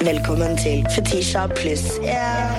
Velkommen til Fetisha pluss én.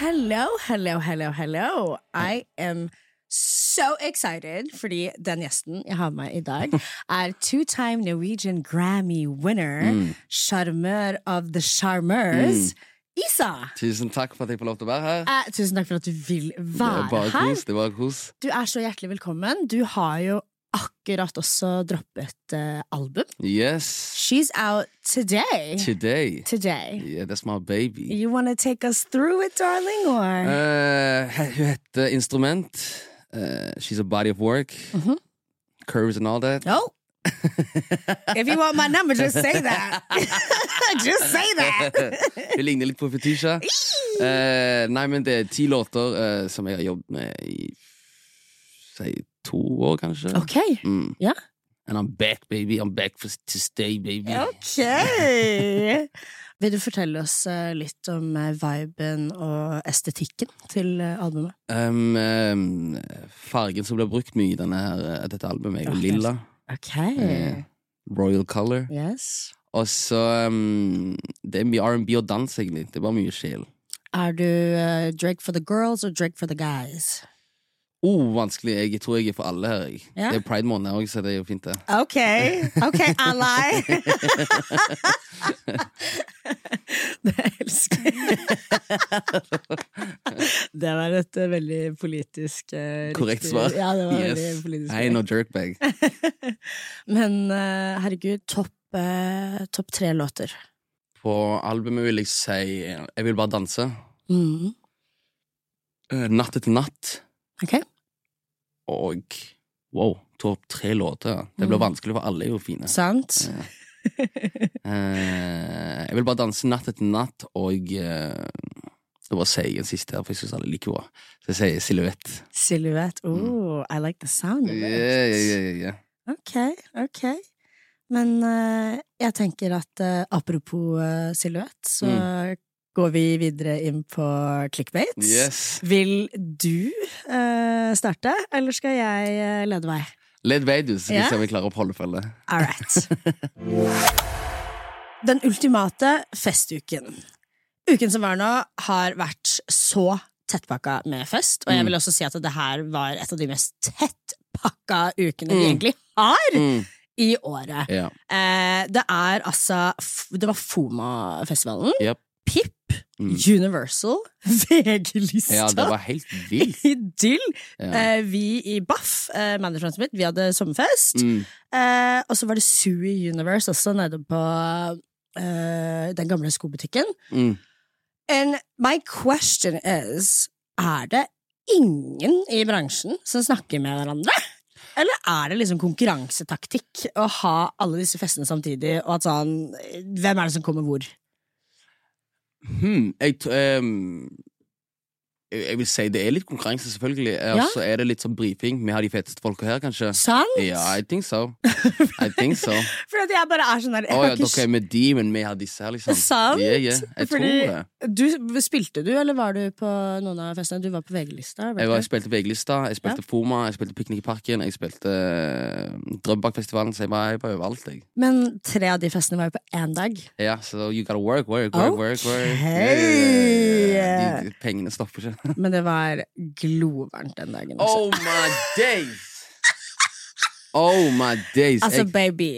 Hello, hello, hello, hello. I am so excited, fordi den gjesten jeg har med meg i dag, er two-time Norwegian Grammy winner, Mm. sjarmør of the sjarmørs, Mm. Isa. Tusen takk for at jeg får lov til å være her. Eh, tusen takk for at du vil Det er være bare her. kos. det er bare kos Du er så hjertelig velkommen. Du har jo akkurat også droppet eh, album. Yes. She's out today. Today. Today. Yeah, that's my baby. You wanna take us through it, darling, or? Eh, he- hun heter Instrument. Eh, she's a body of work. Mhm. Curves and all that. No. if you want my number, just say that. just say that. hun ligner litt på Fetisha. Eh, nei, men det er ti låter eh, som jeg har jobbet med i si, to år, kanskje. okay. Mm. Ja. And I'm back, baby. I'm back for, to stay, baby. Ok. Vil du fortelle oss eh, litt om eh, viben og estetikken til eh, albumet? Um, um, fargen som ble brukt mye i denne her, eh, dette albumet, er jo Ok. lilla. Ok. Eh, Royal Color. Yes. Og så um, Det er mye R&B og dans, egentlig. Det er bare mye sjel. Er du eh, Drake for the girls og Drake for the guys? Oh, vanskelig. Jeg tror jeg er for alle her. Jeg. Ja. Det er pride måned her òg, så det er jo fint, det. Ok, ok, ally. det elsker jeg. det var et eh, veldig politisk eh, Korrekt riktig- svar. Ja, det var veldig yes. politisk. I ain't no jerkbag. Men eh, herregud, topp eh, topp tre låter. På albumet vil jeg si eh, Jeg vil bare danse. Mhm. Eh, natt etter natt. Ok, Og wow, topp tre låter. Det blir Mm. vanskelig, for alle er jo fine. sant? Eh, jeg vil bare danse natt etter natt, og eh, det var sier jeg en siste her, for jeg syns alle liker henne. Så jeg sier silhuett. Silhouette. Oh, I like the sound of it. Yeah, yeah, yeah, yeah. Ok, ok. Men eh, jeg tenker at eh, apropos uh, silhuett, så går vi videre inn på clickbait. Yes. Vil du eh, starte, eller skal jeg eh, lede vei? Led vei, du, så skal vi Ja. se om vi klarer å holde følge. All right. Den ultimate festuken. Uken som var nå, har vært så tettpakka med fest, og jeg vil også si at det her var et av de mest tettpakka ukene vi egentlig Mm. har i året. Ja. Eh, det er altså f- Det var Foma-festivalen. Yep. PIP, Mm. Universal, VG-lista. ja, det var helt vilt. Idyll. Ja. Eh, vi i BAFF, eh, managementet mitt, vi hadde sommerfest. Mm. Eh, og så var det Sui Universe også, nede på eh, den gamle skobutikken. Mm. And my question is Er det ingen i bransjen som snakker med hverandre? Eller er det liksom konkurransetaktikk å ha alle disse festene samtidig, og at sånn Hvem er det som kommer hvor? Hmm, jeg, t- ehm, jeg jeg vil si det er litt konkurranse, selvfølgelig. Eh, Og Ja. så er det litt sånn brifing. Vi har de feteste folka her, kanskje. Sant? Ja, I think so. I think so. Å For Sånn? at jeg bare er sånn der jeg ja, kan dere ikke er med de, men vi har disse her, liksom. Sant? Yeah, yeah. Jeg tror Fordi- det. skj- du, Spilte du, eller var du på noen av festene? Du var på VG-lista? Jeg, var, var jeg spilte VG-lista, jeg spilte Foma, jeg spilte Piknik i parken, jeg spilte eh, Drøbakfestivalen, så jeg var, jeg var overalt, jeg. Men tre av de festene var jo på én dag. Ja, så you gotta work, work, work, work. work. Ok. Yeah, yeah, yeah. De, de pengene stopper ikke. Men det var glovarmt den dagen. Også. Oh my days! Oh my days. altså, Jeg, baby.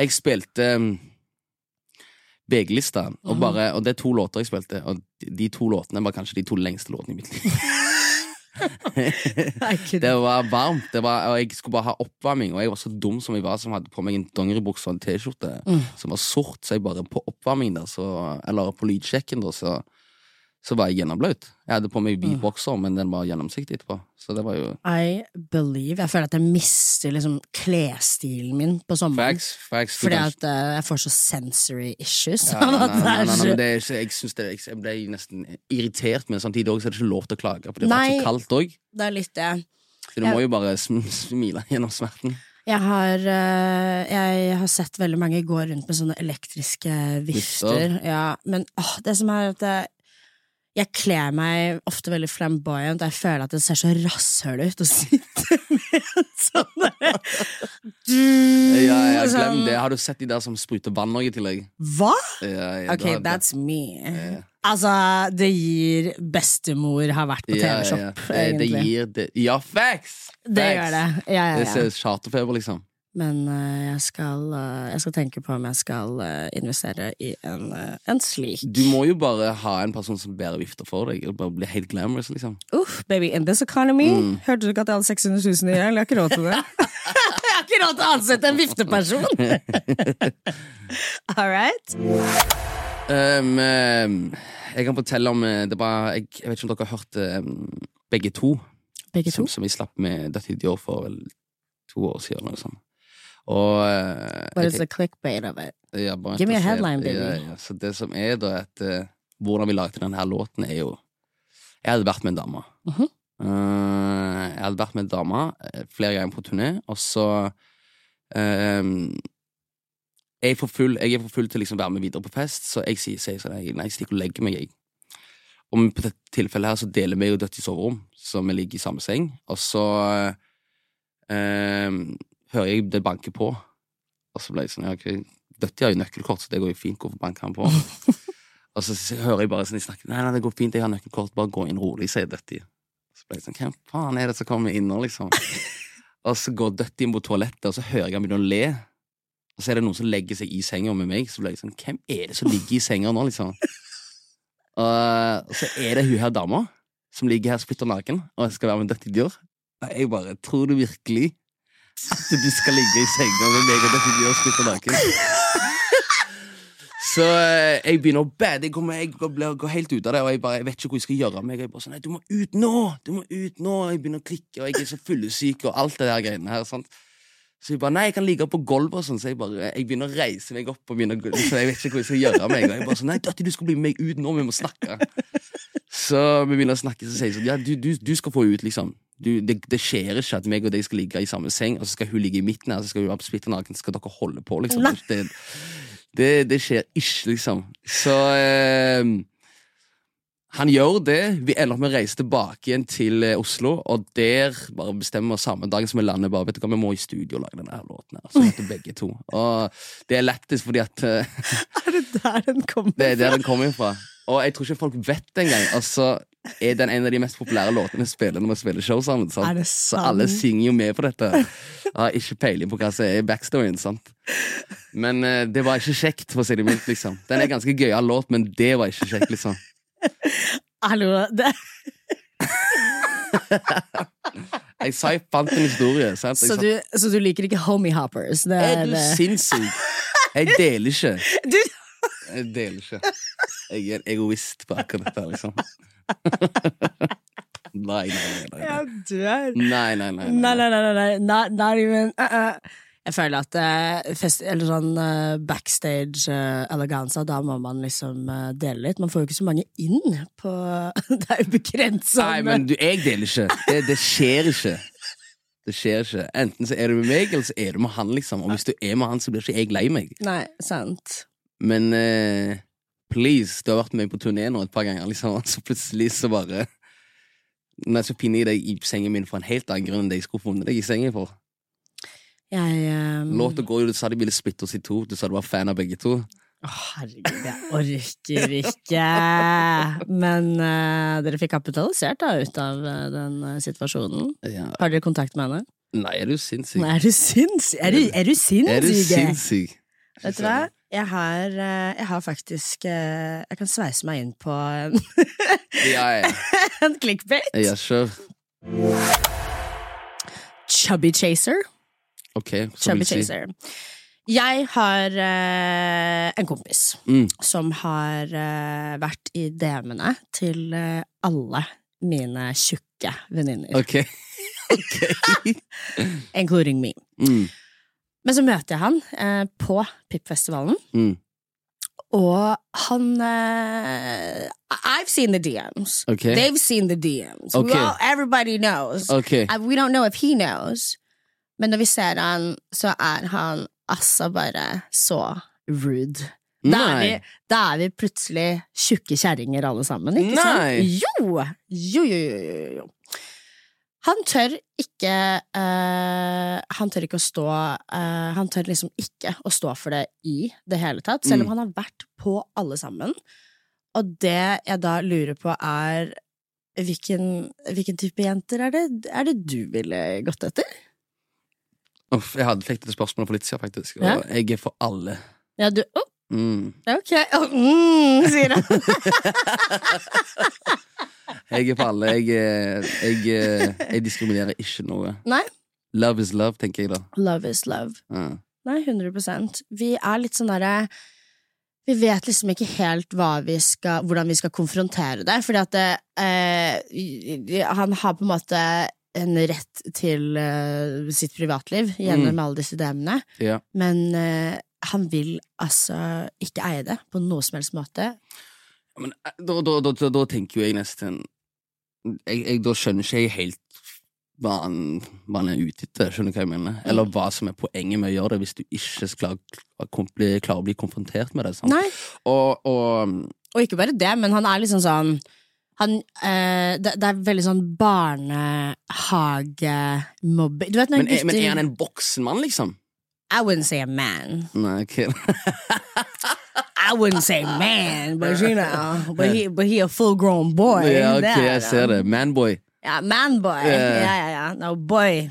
jeg spilte um, VG-lista, Mhm. og, bare- og det er to låter jeg spilte, og de, de to låtene var kanskje de to lengste låtene i mitt liv. I couldn't Det var varmt, det var, og jeg skulle bare ha oppvarming, og jeg var så dum som jeg var, som hadde på meg en dongeribukse og en T-skjorte Mm. som var sort, så jeg bare på oppvarmingen der, så, eller på lydsjekken da, så, så var jeg gjennomblaut. Jeg hadde på meg Mm. hvit bokser, men den var gjennomsiktig etterpå, så det var jo I believe. Jeg føler at jeg mister liksom klesstilen min på sommeren. Facts, facts. Du Fordi kan- at eh, jeg får så sensory issues. Ja, av nei, at det er nei, nei, nei, så- nei, men det er ikke, jeg, synes det, jeg jeg ble nesten irritert, men samtidig også, så er det ikke lov til å klage. For det var Nei. så kaldt òg, det er litt det. så du må jo bare sm smile gjennom smerten. Jeg har, eh, jeg har sett veldig mange gå rundt med sånne elektriske vifter. Vifter. Ja, men åh, det som er at jeg, Jeg kler meg ofte veldig flamboyant, og jeg føler at det ser så rasshøl ut å sitte med en sånn derre Ja, ja, glem Sånn, det. Har du sett de der som spruter vann også i tillegg? Hva? Ja, ja, Ok, da- da- that's me. Altså, det gir bestemor har vært på Ja, TV-shop, ja. Det, egentlig. det gir det, Ja, facts! Det gjør det. Ja, ja, Det ja. ser charterfeber, liksom. Men eh, jeg, skal, eh, jeg skal tenke på om jeg skal eh, investere i en, eh, en slik. Du må jo bare ha en person som bærer vifter for deg, og bare bli helt glamorous, liksom. Uff, baby, in this economy Hørte du ikke at jeg hadde 600 000 i gjeld? Jeg har ikke råd til det. jeg har ikke råd til å ansette en vifteperson! All right. Um, um, jeg kan fortelle om eh, det var, jeg, jeg vet ikke om dere har hørt eh, begge to, Begge som, to. som vi slapp med Dette Idiot for vel to år siden. Eller noe sånt. Og eh, But it's jeg- the clickbait of it. ja, bare Give me a interessert- headline, baby. Ja, ja. Så det som er, da, at eh, hvordan vi lagde denne her låten, er jo Jeg hadde vært med en dame. Mhm. Eh, jeg hadde vært med en dame eh, flere ganger på turné, og så eh, jeg er for full, jeg er for full til å liksom være med videre på fest, så jeg sier, sier sånn, jeg, nei, jeg stikker og legger meg, jeg. Og på dette tilfellet her så deler vi jo dødt i soverom, så vi ligger i samme seng, og så eh, hører jeg det banker på, og så ble jeg sånn, ja, ok, dødt har jo nøkkelkort, så det går jo fint, hvorfor banker han på? og så s- hører jeg bare sånn, de snakker, nei, nei, det går fint, jeg har nøkkelkort, bare gå inn rolig, sier dødt i. Så ble jeg sånn, hvem faen er det som kommer inn nå, liksom? og så går dødt inn på toalettet, og så hører jeg han begynne å le, og så er det noen som legger seg i senga med meg, så blir jeg sånn Hvem er det som ligger i senga nå, liksom? Og og så er det hun her dama som ligger her splitter naken, og jeg skal være med Dødt Idiot. Og jeg bare Tror du virkelig at du skal ligge i senga med meg og Dødt Idiot splitter naken? Så eh, jeg begynner å bade. Jeg, kommer, jeg blir- går helt ut av det, og jeg, bare, jeg vet ikke hvor jeg skal gjøre av meg. Jeg bare sånn, nei, du må ut nå! Du må ut nå! Jeg begynner å klikke, og jeg er så fyllesyk, og alt det der greiene her. sant? Så hun bare nei, jeg kan ligge på gulvet og sånn, så jeg bare jeg begynner å reise meg opp. og begynner å gå- liksom, Jeg vet ikke hvor jeg skal gjøre av meg. Og jeg bare sånn, nei, Datti, du skal bli med meg ut nå, vi må snakke. Så vi begynner å snakke, så sier jeg sånn, ja, du, du, du skal få henne ut, liksom. Du, det, det skjer ikke at meg og deg skal ligge i samme seng, og så skal hun ligge i midten her, så skal hun være splitter naken, så skal dere holde på, liksom. Det, det, det skjer ikke, liksom. Så eh, han gjør det. Vi ender opp med å reise tilbake igjen til eh, Oslo, og der bare bestemmer vi oss samme dag som vi lander bare, vet du hva, vi må i studio og lage denne her låten. her, Så heter begge to. Og det er lettest fordi at eh, Er det der den kommer? det er der den kommer fra. Og jeg tror ikke folk vet det engang. Altså, er den en av de mest populære låtene vi spiller når vi spiller show sammen. Sant? Er det Så sant? alle synger jo med på dette. Jeg har ikke peiling på hva som er backstoryen. sant? Men eh, det var ikke kjekt, for å si det mildt. liksom. Den er ganske gøyal låt, men det var ikke kjekt. liksom. Hallo, det Jeg sa jeg fant en historie. sant? Jeg Så sa, du, så du liker ikke homie hoppers? Det Er er, du sinnssyk? Jeg deler ikke. du, Jeg deler ikke. Jeg er en egoist på akkurat dette, liksom. Nei, nei, nei. jeg dør. Nei, nei, nei. nei, Nei, nei, nei, nei, nei. Not, not even uh-uh. Jeg føler at eh, fest, eller sånn eh, backstage eh, eleganza, da må man liksom eh, dele litt. Man får jo ikke så mange inn på Det er jo begrensa. Nei, men du, jeg deler ikke. Det, det skjer ikke. Det skjer ikke. Enten så er du med meg, eller så er du med han, liksom. Og hvis du er med han, så blir ikke jeg lei meg. Nei, sant. Men eh, please, du har vært med meg på turné nå et par ganger, liksom. Så plutselig så bare Nei, så pinner jeg deg i sengen min for en helt annen grunn enn det jeg skulle funnet deg i sengen for. Jeg eh, Låta går jo, du sa de ville splitte oss i to. Du sa du var fan av begge to. Å, herregud, jeg orker ikke! Men eh, dere fikk kapitalisert da ut av eh, den eh, situasjonen. Ja. Har dere kontakt med henne? Nei, er du sinnssyk? Nei, er du sinnssyk? Er, du- er du er du sinnssyk? sinnssyk? Vet du hva? Jeg har, eh, jeg har faktisk eh, Jeg kan sveise meg inn på en, Ja, ja. en clickbait. Ja, sure. Chubby chaser. Ok. så vil Chubby du si. chaser. Jeg har eh, en kompis Mm. som har eh, vært i DM-ene til eh, alle mine tjukke venninner, Ok. ok. including me. Mm. Men så møter jeg han eh, på PIP-festivalen. Mm. Og han eh, I've seen the DMs. Okay. They've seen the DMs. We Okay. all, everybody knows. Ok. I- We don't know if he knows. Men når vi ser han, så er han altså bare så rude Da er, Nei. vi, da er vi plutselig tjukke kjerringer alle sammen, ikke Nei. sant? Jo! Jo, jo, jo, jo, jo, jo. Han tør ikke eh, Han tør ikke å stå eh, Han tør liksom ikke å stå for det i det hele tatt, selv om han har vært på alle sammen. Og det jeg da lurer på, er hvilken, hvilken type jenter er det, er det du ville gått etter? Uff, jeg hadde fikk dette spørsmålet for litt siden, faktisk. Og Ja. jeg er for alle. Ja, du Å, Mm. ok! Å, mm, sier han. Jeg er for alle. Jeg, er- jeg, er- jeg diskriminerer ikke noe. Nei. Love is love, tenker jeg da. Love is love. Ja. Nei, 100 Vi er litt sånn derre Vi vet liksom ikke helt hva vi skal, hvordan vi skal konfrontere det. Fordi at det, eh, i- i- han har på en måte en rett til eh, sitt privatliv gjennom alle disse DM-ene. Mm. Ja. Men eh, han vil altså ikke eie det på noe som helst måte. Men eh, da, da, da, da, da tenker jo jeg nesten jeg, jeg, Da skjønner ikke jeg helt hva han, hva han er ute etter, skjønner du hva jeg mener? Mm. Eller hva som er poenget med å gjøre det, hvis du ikke skal klarer bli, klarer å bli konfrontert med det. Sant? Nei. Og, og Og ikke bare det, men han er liksom sånn han, eh, det, det er veldig sånn barnehagemobbing Du vet når men, er, gutter men er han en voksen mann, liksom? I wouldn't say a man. Nei, ok. I wouldn't say man, but you know, but he, but he a full grown boy. ja, ok, Det er han. jeg ser det. Manboy. Ja, man boy. Ja. Ja, ja, ja. No boy.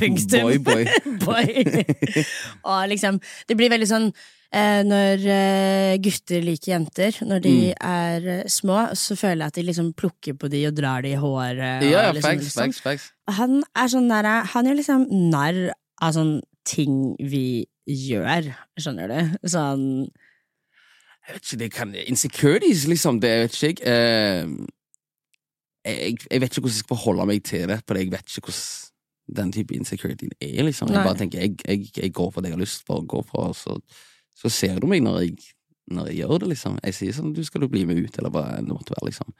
Punktum. Boy-boy. boy. Og liksom, det blir veldig sånn eh, når eh, gutter liker jenter, når de Mm. er eh, små, så føler jeg at de liksom plukker på de og drar de i håret. og Ja, ja, liksom, facts, liksom. facts, facts. Han er sånn der, han gjør liksom narr av sånn ting vi gjør, skjønner du? Sånn Jeg vet ikke, det kan Insecurities, liksom. Det vet ikke jeg. Eh, jeg. Jeg vet ikke hvordan jeg skal forholde meg til det, for jeg vet ikke hvordan den type insecurity er, liksom. Jeg Nei. bare tenker, jeg, jeg, jeg går for det jeg har lyst for å gå for, og så, så ser du meg når jeg, når jeg gjør det, liksom. Jeg sier sånn, du skal du bli med ut, eller hva enn det måtte være, liksom.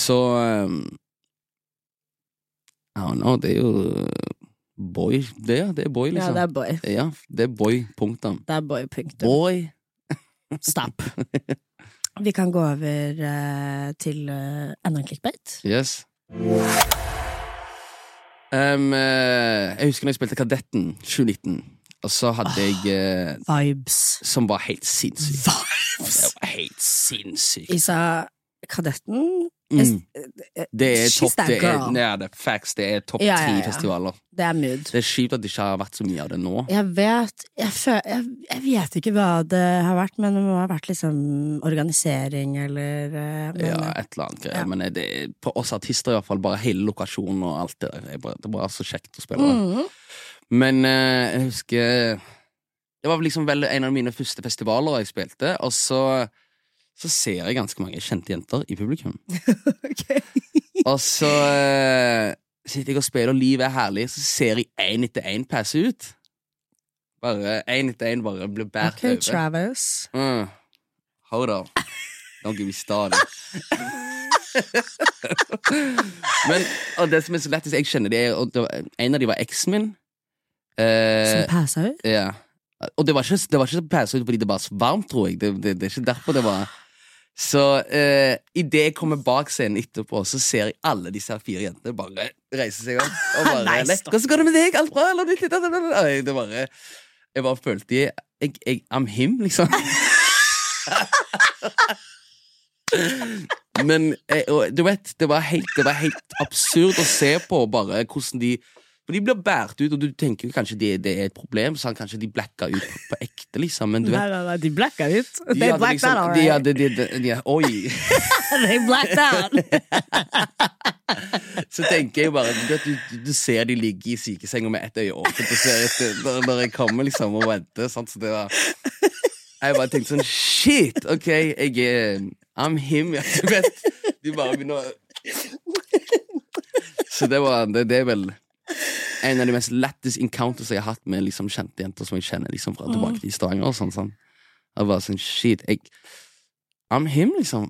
Så eh, I don't know, det er jo eh, boy. Det, ja, det er boy, Ja, liksom. det er boy. Ja, det er boy, punktum. Det er boy, punktum. Boy. Stopp. Vi kan gå over eh, til eh, enda en clickbait. Yes. Em, eh, jeg husker når jeg spilte Kadetten 2019, og så hadde jeg eh, Vibes. Som var helt sinnssyk. Vibes! Det var helt sinnssyk. Isa Kadetten, Mm. Det er She's topp that det er, girl. nei, det er facts. Det er topp ti Ja, ja, ja. festivaler. det er mood. Det er kjipt at det ikke har vært så mye av det nå. Jeg vet jeg, fø, jeg, jeg vet ikke hva det har vært, men det må ha vært liksom organisering eller eh, men, Ja, et eller annet greier. Ja. Men eh, det er, på oss artister, i hvert fall, bare hele lokasjonen og alt det der. Det er bare, det er bare så kjekt å spille. det. Mhm. Men eh, jeg husker Det var vel liksom vel en av mine første festivaler jeg spilte, og så, så ser jeg ganske mange kjente jenter i publikum. Ok. Og så eh, sitter jeg og spiller, og livet er herlig, så ser jeg én etter én passe ut. Bare én etter én bare blir båret Ok, over. Travis. Mm. Hold up. Don't give me started. Men og det som er så lettest, jeg kjenner det, er- og det var, en av de var eksen min. Eh, Som passa ut. ja. Og det var ikke, det var ikke så pæsa ut fordi det var så varmt, tror jeg. Det, det, det er ikke derfor det var Så eh, idet jeg kommer bak scenen etterpå, så ser jeg alle disse her fire jentene bare reise seg opp. Og bare Nei, «Nei, stopp. 'Hvordan går det med deg? Alt bra?' Eller litt, litt, litt, litt». Nei, Det bare Jeg bare følte jeg, jeg, jeg I'm him, liksom. Men eh, og, du vet, det var, helt, det var helt absurd å se på bare hvordan de For de blir båret ut, og du tenker jo kanskje det, det er et problem, så kanskje de blacka ut på, på ekte, liksom. Men du Nei, vet nei, nei, de blacka ut. de They hadde blacked liksom- out, all de right. hadde- de- de- de- Oi. They blacked out. Så tenker jeg bare Du, vet, du, du ser de ligger i sykesenga med ett øye åpent og ser etter når, når jeg kommer liksom og venter. Sant? Så det var Jeg bare tenkte sånn Shit! OK, jeg er I'm him. Ja, du vet. Du bare begynner å Så det var det, det er vel en av de mest lettest encounters jeg har hatt med liksom kjente jenter som jeg kjenner liksom fra tilbake til Stavanger. og sånn, sånn. Jeg bare sånn, shit, jeg, I'm him, liksom.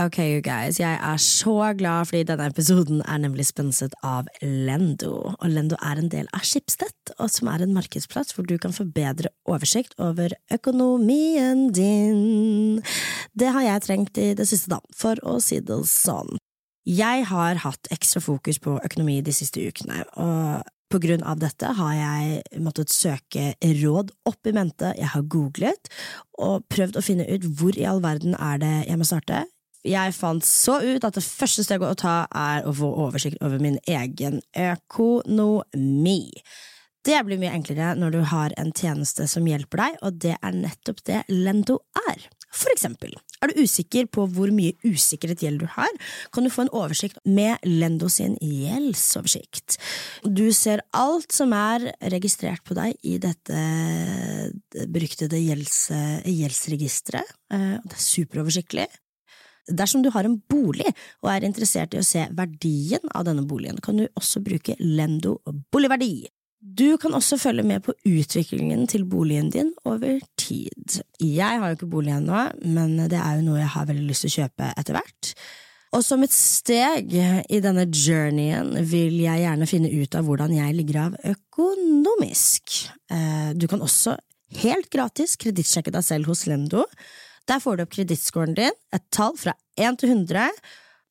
Ok, you guys. Jeg er så glad, fordi denne episoden er nemlig sponset av Lendo. Og Lendo er en del av Schibsted, og som er en markedsplass hvor du kan få bedre oversikt over økonomien din. Det har jeg trengt i det siste, da, for å si det sånn. Jeg har hatt ekstra fokus på økonomi de siste ukene, og på grunn av dette har jeg måttet søke råd opp i mente, jeg har googlet og prøvd å finne ut hvor i all verden er det jeg må starte. Jeg fant så ut at det første steget å ta er å få oversikt over min egen økonomi. Det blir mye enklere når du har en tjeneste som hjelper deg, og det er nettopp det Lendo er. For eksempel, er du usikker på hvor mye usikkerhet gjeld du har, kan du få en oversikt med Lendo sin gjeldsoversikt. Du ser alt som er registrert på deg i dette beryktede gjelds, gjeldsregisteret, eh, og det er superoversiktlig. Dersom du har en bolig og er interessert i å se verdien av denne boligen, kan du også bruke Lendo boligverdi. Du kan også følge med på utviklingen til boligen din over tid. Jeg har jo ikke bolig ennå, men det er jo noe jeg har veldig lyst til å kjøpe etter hvert. Og som et steg i denne journeyen vil jeg gjerne finne ut av hvordan jeg ligger av økonomisk. Eh, Du kan også helt gratis kredittsjekke deg selv hos Lendo. Der får du opp kredittscoren din, et tall fra 1 til 100,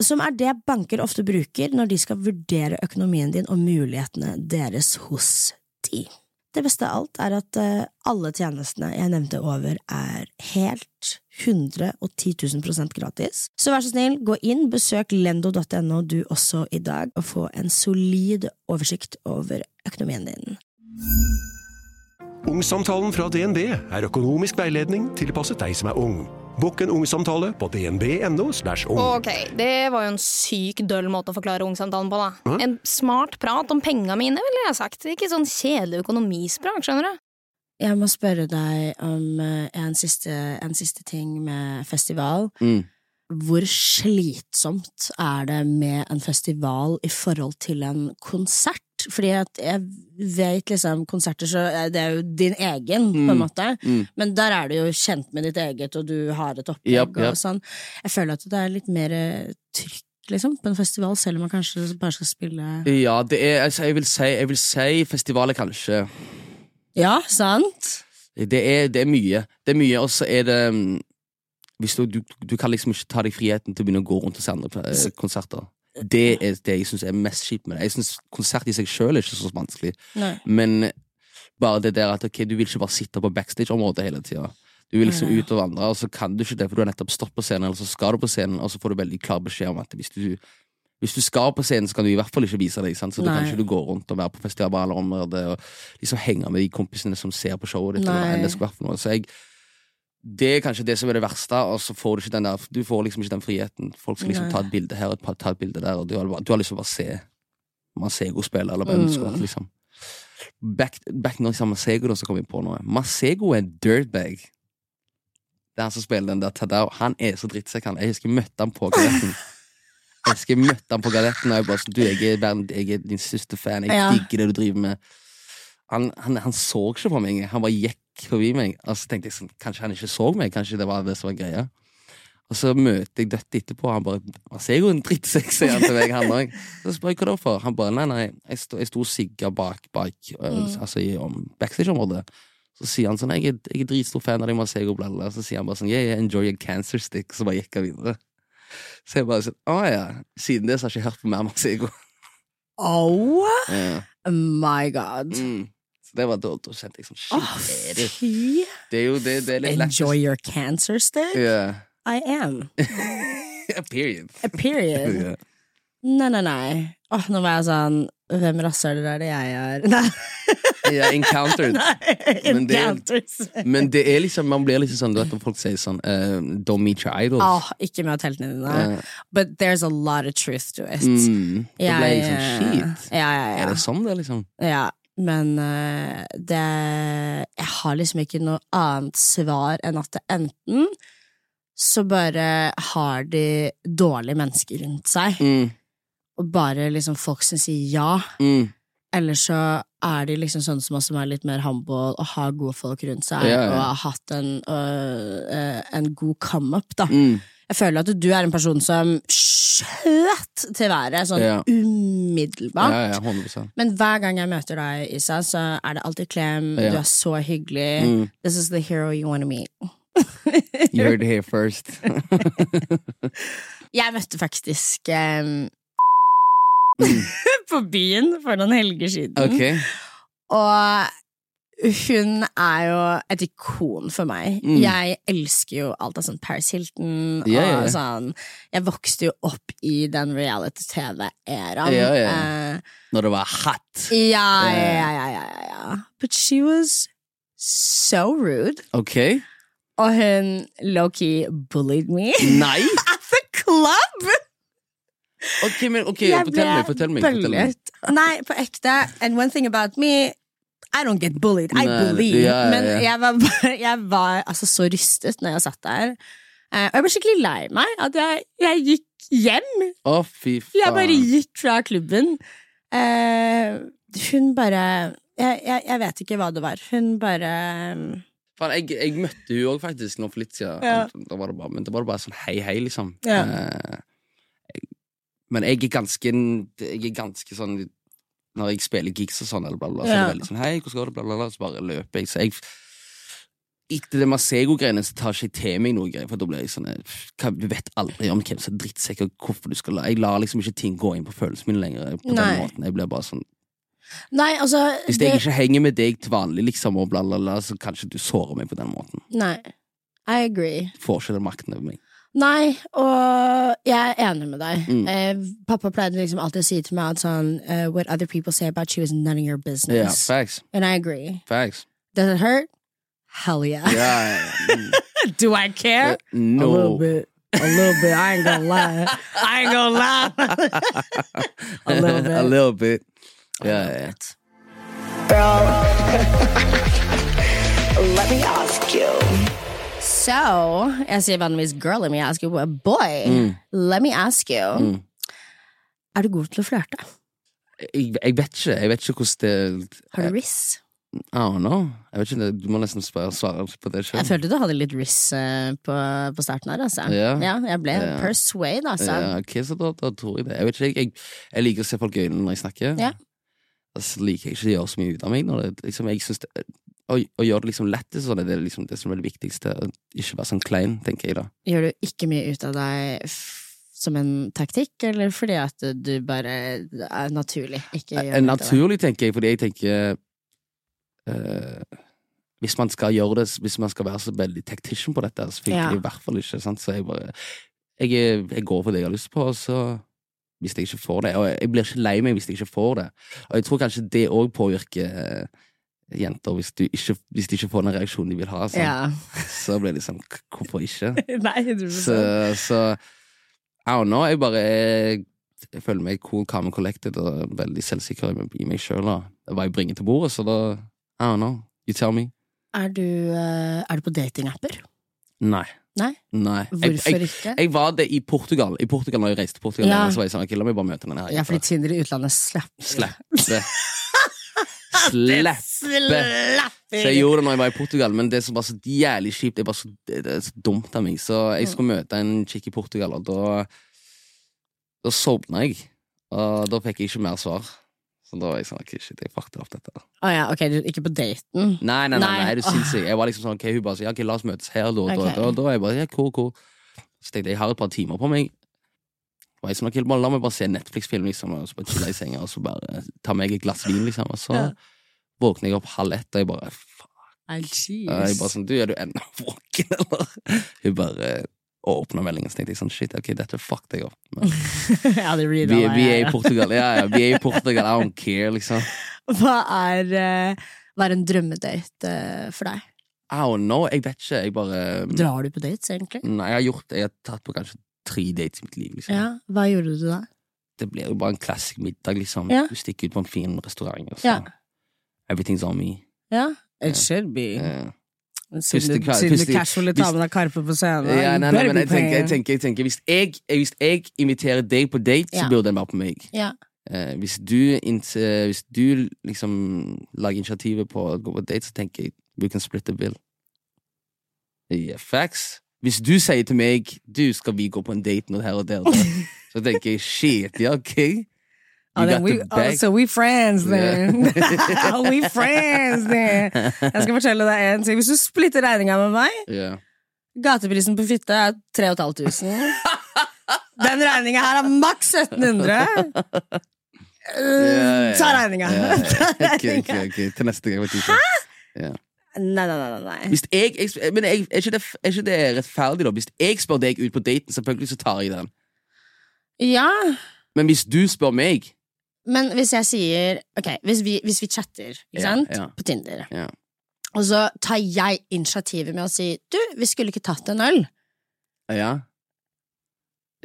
som er det banker ofte bruker når de skal vurdere økonomien din og mulighetene deres hos de. Det beste av alt er at eh, alle tjenestene jeg nevnte over er helt 110 000 gratis. Så vær så snill, gå inn, besøk lendo.no du også i dag, og få en solid oversikt over økonomien din. Ungsamtalen fra DNB er økonomisk veiledning tilpasset deg som er ung. Bokk en ungsamtale på dnb.no. slash ung. Ok, det var jo en syk døll måte å forklare ungsamtalen på, da. En smart prat om penga mine, ville jeg ha sagt. Ikke sånn kjedelig økonomispråk, skjønner du. Jeg må spørre deg om eh, en siste, en siste ting med festival. Mm. Hvor slitsomt er det med en festival i forhold til en konsert? Fordi at jeg vet liksom Konserter så er det er jo din egen, på en måte. mm. Men der er du jo kjent med ditt eget, og du har et opplegg Japp, japp. og sånn. Jeg føler at det er litt mer eh, trykk, liksom, på en festival, selv om man kanskje bare skal spille Ja, det er altså, jeg, vil si, jeg vil si festivalet, kanskje. Ja, sant? Det er, det er mye. Det er mye, og så er det mm, hvis du, du, du kan liksom ikke ta deg friheten til å begynne å gå rundt og se andre eh, Så- konserter. Det er det jeg syns er mest kjipt med det. Jeg synes Konsert i seg sjøl er ikke så vanskelig, Nei. men bare det der at ok, du vil ikke bare sitte på backstage-området hele tida. Du vil liksom Nei, nei. ut og vandre, og så kan du ikke det, for du har nettopp stått på scenen, eller så skal du på scenen, og så får du veldig klar beskjed om at hvis du, hvis du skal på scenen, så kan du i hvert fall ikke vise deg, sant? så da kan Nei. ikke du gå rundt og være på festivalområdet og liksom henge med de kompisene som ser på showet ditt. eller hva Nei. enn det skulle vært for noe. Så jeg, det er kanskje det som er det verste, og så får du ikke den der Du får liksom ikke den friheten. Folk skal liksom Nei. ta et bilde her og et- ta et bilde der, og du har, bare- du har lyst til å bare se Masego spille, eller hvem som helst, liksom. Back, back når jeg sa Masego, da, så kom jeg på noe. Masego er en dirtbag. Det er han som spiller den der Tadao. Han er så drittsekk, han. Jeg husker jeg møtte han på galetten. Jeg husker jeg møtte han på galetten, og jeg bare sånn Du, jeg er, verden, jeg er din største fan. Jeg Ja. digger det du driver med. Han, han, han så ikke på meg, han bare gikk forbi meg. Og så tenkte jeg sånn, kanskje han ikke så meg, kanskje det var det som var greia. Og så møter jeg Dødt etterpå, og han bare Han ser jo en drittsekk, sier han til meg, han òg. Så spør jeg hva da for. Han bare nei, nei, jeg sto, jeg sto og sigga bak, bak øh, altså i om backstage-området. Så sier han sånn, jeg er, jeg er dritstor fan av deg, Masego, bla, bla. bla. Så sier han bare sånn, yeah, yeah, enjoy your cancer stick. Så bare gikk han videre. Så jeg bare sånn, å ja. Siden det så har jeg ikke hørt på mer Masego. Oh Ja. my god. Mm. Så det var da, da kjente jeg sånn, Å, shit, det er det? fy. Det er jo det, det er litt lættis. Enjoy your cancer stick? Yeah. I am. Period. A period. Yeah. Nei, nei, nei. Åh, nå var jeg sånn Hvem rasshøler er det jeg er? Nei, Yeah, encountered. nei. Men det- encounters. Men det er liksom, man blir liksom sånn, du vet når folk sier sånn, eh, don't meet your idols. Eh, Åh, ikke med å telte ned dine. Ja. But there's a lot of truth to it. eh, Mm. Da ble jeg liksom, shit. Ja, ja, Er ja. det sånn det er liksom? ja. Men eh, det Jeg har liksom ikke noe annet svar enn at det enten så bare har de dårlige mennesker rundt seg, Mm. og bare liksom folk som sier ja. Mm. Eller så er de liksom sånne som oss som er litt mer humble og har gode folk rundt seg Ja, ja. eh, og har hatt en, øh, øh, en god come-up, da. Mm. Jeg føler at du er en person som skjøt til været sånn Ja. umiddelbart. Ja, ja, 100 Men hver gang jeg møter deg, Isa, så er det alltid klem. Ja. Mm. Du er så Eh. hyggelig. This is the hero you want to meet. You heard it here first. Jeg møtte faktisk em, på byen for noen helger siden. Mm. Ok. Og hun er jo et ikon for meg. Mm. Jeg elsker jo alt av sånn Paris Hilton Ja, ja, ja. og sånn. Jeg vokste jo opp i den reality-TV-æraen. Ja, ja, ja. Eh, Når det var hot. ja, Ja, ja, ja, ja. ja, ja, ja, ja. But she was so rude. Ok. Og hun low-key bullied me Nei! at the club! Ok, men, ok, Jeg fortell meg, fortell meg. Fortell meg. bøllet. Nei, på ekte. And one thing about me I don't get bullied. I Nei, believe. ja, ja, ja. Men jeg var, bare- jeg var altså, så rystet når jeg satt der. Eh, Og jeg ble skikkelig lei meg. At jeg, jeg gikk hjem. Å, fy faen. Jeg bare gikk fra klubben. Eh, hun bare jeg, jeg, jeg vet ikke hva det var. Hun bare Faen, jeg, jeg møtte hun òg, faktisk, nå for litt siden. Ja. Da var det bare, men det var bare sånn hei, hei, liksom. Ja. Eh, jeg- men jeg er ganske Jeg er ganske sånn Når jeg spiller gigs og sånn, eller bla, bla, så er det Ja. veldig sånn hei, hvordan går det, bla, bla, bla, så bare løper jeg. Så jeg etter det Masego-greiene så tar ikke jeg til meg noe greier, for da blir jeg sånn eh, hva, Du vet aldri om hvem som er drittsekk, og hvorfor du skal la Jeg lar liksom ikke ting gå inn på følelsene mine lenger. eh, På den Nei. måten. Jeg blir bare sånn Nei, altså Hvis jeg ikke henger med deg til vanlig, liksom, og bla, bla, bla, så kanskje du sårer meg på den måten. Nei. I agree. Får ikke den makten over meg. Nei, og jeg er enig med deg. Mm. Eh, pappa pleide liksom alltid å si til meg at sånn eh, What other people say about you is none of your Ja, business. facts. And I agree. Facts. Does it hurt? Hell yeah. Ja, ja, ja. Mm. Do I care? A little Uh, No. bit. A little bit. I ain't gonna lie. I ain't gonna lie. A little bit. A little bit. Ja, ja, ja. Girl, let me ask you. So, jeg sier vanligvis girl, let me ask you. But boy, let me ask you. Mm. Er du god til å flørte? Jeg, jeg vet ikke jeg vet ikke hvordan det Har du riss? I don't know. Jeg vet ikke, det- Du må nesten spørre, svare på det Jeg sjøl. følte du hadde litt riss eh, på, på starten her, altså. Ja. jeg ble Ja. persuade, altså. Ja, ok, så da, da tror jeg det. Jeg vet ikke, jeg, jeg liker å se folk i øynene når jeg snakker. Ja. Og så liker jeg ikke å gjøre så mye ut av meg. Når det, liksom, jeg synes det, å, å gjøre det liksom lettest, sånn, det er liksom det som er det viktigste. å Ikke være sånn klein, tenker jeg da. Gjør du ikke mye ut av deg f som en taktikk, eller fordi at du bare er naturlig? Ikke gjør noe Eh, ut av deg? Naturlig, tenker jeg, fordi jeg tenker eh, Hvis man skal gjøre det Hvis man skal være så veldig tactician på dette, så funker Ja. det i hvert fall ikke. Sant? Så jeg bare jeg, er- jeg går for det jeg har lyst på, og så hvis jeg ikke får det Og jeg blir ikke lei meg hvis jeg ikke får det. Og jeg tror kanskje det òg påvirker eh, jenter, hvis, du ikke, hvis de ikke får den reaksjonen de vil ha. sant? Ja. Så blir det sånn k- Hvorfor ikke? Nei, du sånn. Så, så I don't know. Jeg bare jeg, jeg føler meg cool, calm and collected og veldig selvsikker i meg- i meg sjøl. Hva jeg bringer til bordet, så da I don't know. You tell me. Er du, eh, er du på datingapper? Nei. Nei? Nei. Jeg, Hvorfor jeg, ikke? jeg var det i Portugal. I Portugal når jeg reiste til Portugal, Ja. så var jeg sånn Ok, la meg bare møte denne her. Ja, fordi Tinder i utlandet slapper. Slipp det. Slipp det. Så jeg gjorde det når jeg var i Portugal, men det som var så jævlig kjipt, det var så, det, det er så dumt av meg. Så jeg skulle møte en chick i Portugal, og da Da sovna jeg. Og da fikk jeg ikke mer svar. Så da var jeg sånn ok, shit, jeg fucked opp dette. Å ja, ok, du, ikke på daten. Nei, nei, nei, nei, Nei. er du sinnssyk? Jeg var liksom sånn, ok, hun bare sier ja, ok, la oss møtes her, da. Da, Ok. da, da er jeg bare, ja, cool, cool. Så tenkte jeg, jeg har et par timer på meg. Og jeg sånn, ok, bare, La meg bare se en Netflix-film, liksom, og så bare chille i senga, og så bare eh, ta meg et glass vin, liksom. Og så Ja. våkner jeg opp halv ett, og jeg bare faen. Nei, Ja, Jeg bare jeez. sånn, du, er du ennå våken, eller? Hun bare åpna meldingen, så tenkte jeg sånn, shit, ok, dette fucked jeg opp. Men Jeg hadde reada vi, vi er meg, i Portugal, ja, ja, vi er i Portugal, I don't care, liksom. ja. Hva er, eh, hva er en drømmedate eh, for deg? I don't know, jeg vet ikke, jeg bare mm, Drar du på dates, egentlig? Nei, jeg har gjort Jeg har tatt på kanskje tre dates i mitt liv, liksom. Ja, Hva gjorde du da? Det blir jo bare en klassisk middag, liksom. Ja. Du stikker ut på en fin restaurant, og så Ja. Everything's on me. Ja, It should be. Eh, Siden Første du, kva- siden du første- casually hvis- tar med deg Karpe på scenen. ja, nei, you nei, better men be jeg tenker, jeg paying. tenker, jeg tenker hvis, jeg, hvis jeg inviterer deg på date, så Ja. burde den være på meg. Ja. Eh, hvis, du, ins- eh, hvis du liksom lager initiativet på å gå på date, så tenker jeg we can split the bill. Yeah, facts. Hvis du sier til meg Du, skal vi gå på en date nå her og der, og der Så tenker jeg shit, ja, ok You Oh, then got we, the oh, bag so we friends then. oh, we friends then. Jeg skal fortelle deg en ting. Hvis du splitter regninga med meg Ja. Gateprisen på fitte er 3500. Den regninga her er maks 1700. Uh, Ta regninga. Ja, ja. Ta Ok, ok, regninga. ok. Til neste gang. vet du ikke. Nei, nei, nei. nei, nei. Hvis jeg, jeg, men jeg, er, ikke det, er ikke det rettferdig, da? Hvis jeg spør deg ut på daten, selvfølgelig så tar jeg den. Ja, Men hvis du spør meg men hvis jeg sier Ok, hvis vi, hvis vi chatter, ikke Ja, sant? ja. På Tinder. ja. Og så tar jeg initiativet med å si Du, vi skulle ikke tatt en øl. ja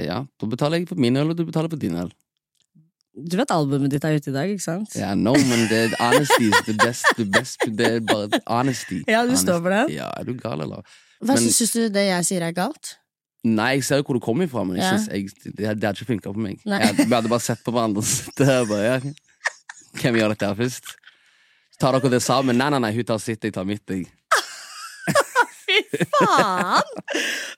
Ja, da betaler jeg for min øl, og du betaler for din øl. Du vet albumet ditt er ute i dag, ikke sant? Ja, no, men det er honesty is the best, the best Det er bare honesty. Ja, du står for den. Honesty. Ja, er du gal, eller? Hva Men- syns- syns du det jeg sier er galt? Nei, jeg ser jo hvor du kommer ifra, men jeg Ja. synes jeg, det, det hadde ikke funka på meg. Nei. Jeg, vi hadde bare sett på hverandre og sittet her og bare ja. Hvem gjør dette her først? Tar dere det sammen? Nei, nei, nei, hun tar sitt, jeg tar mitt. Jeg. Faen!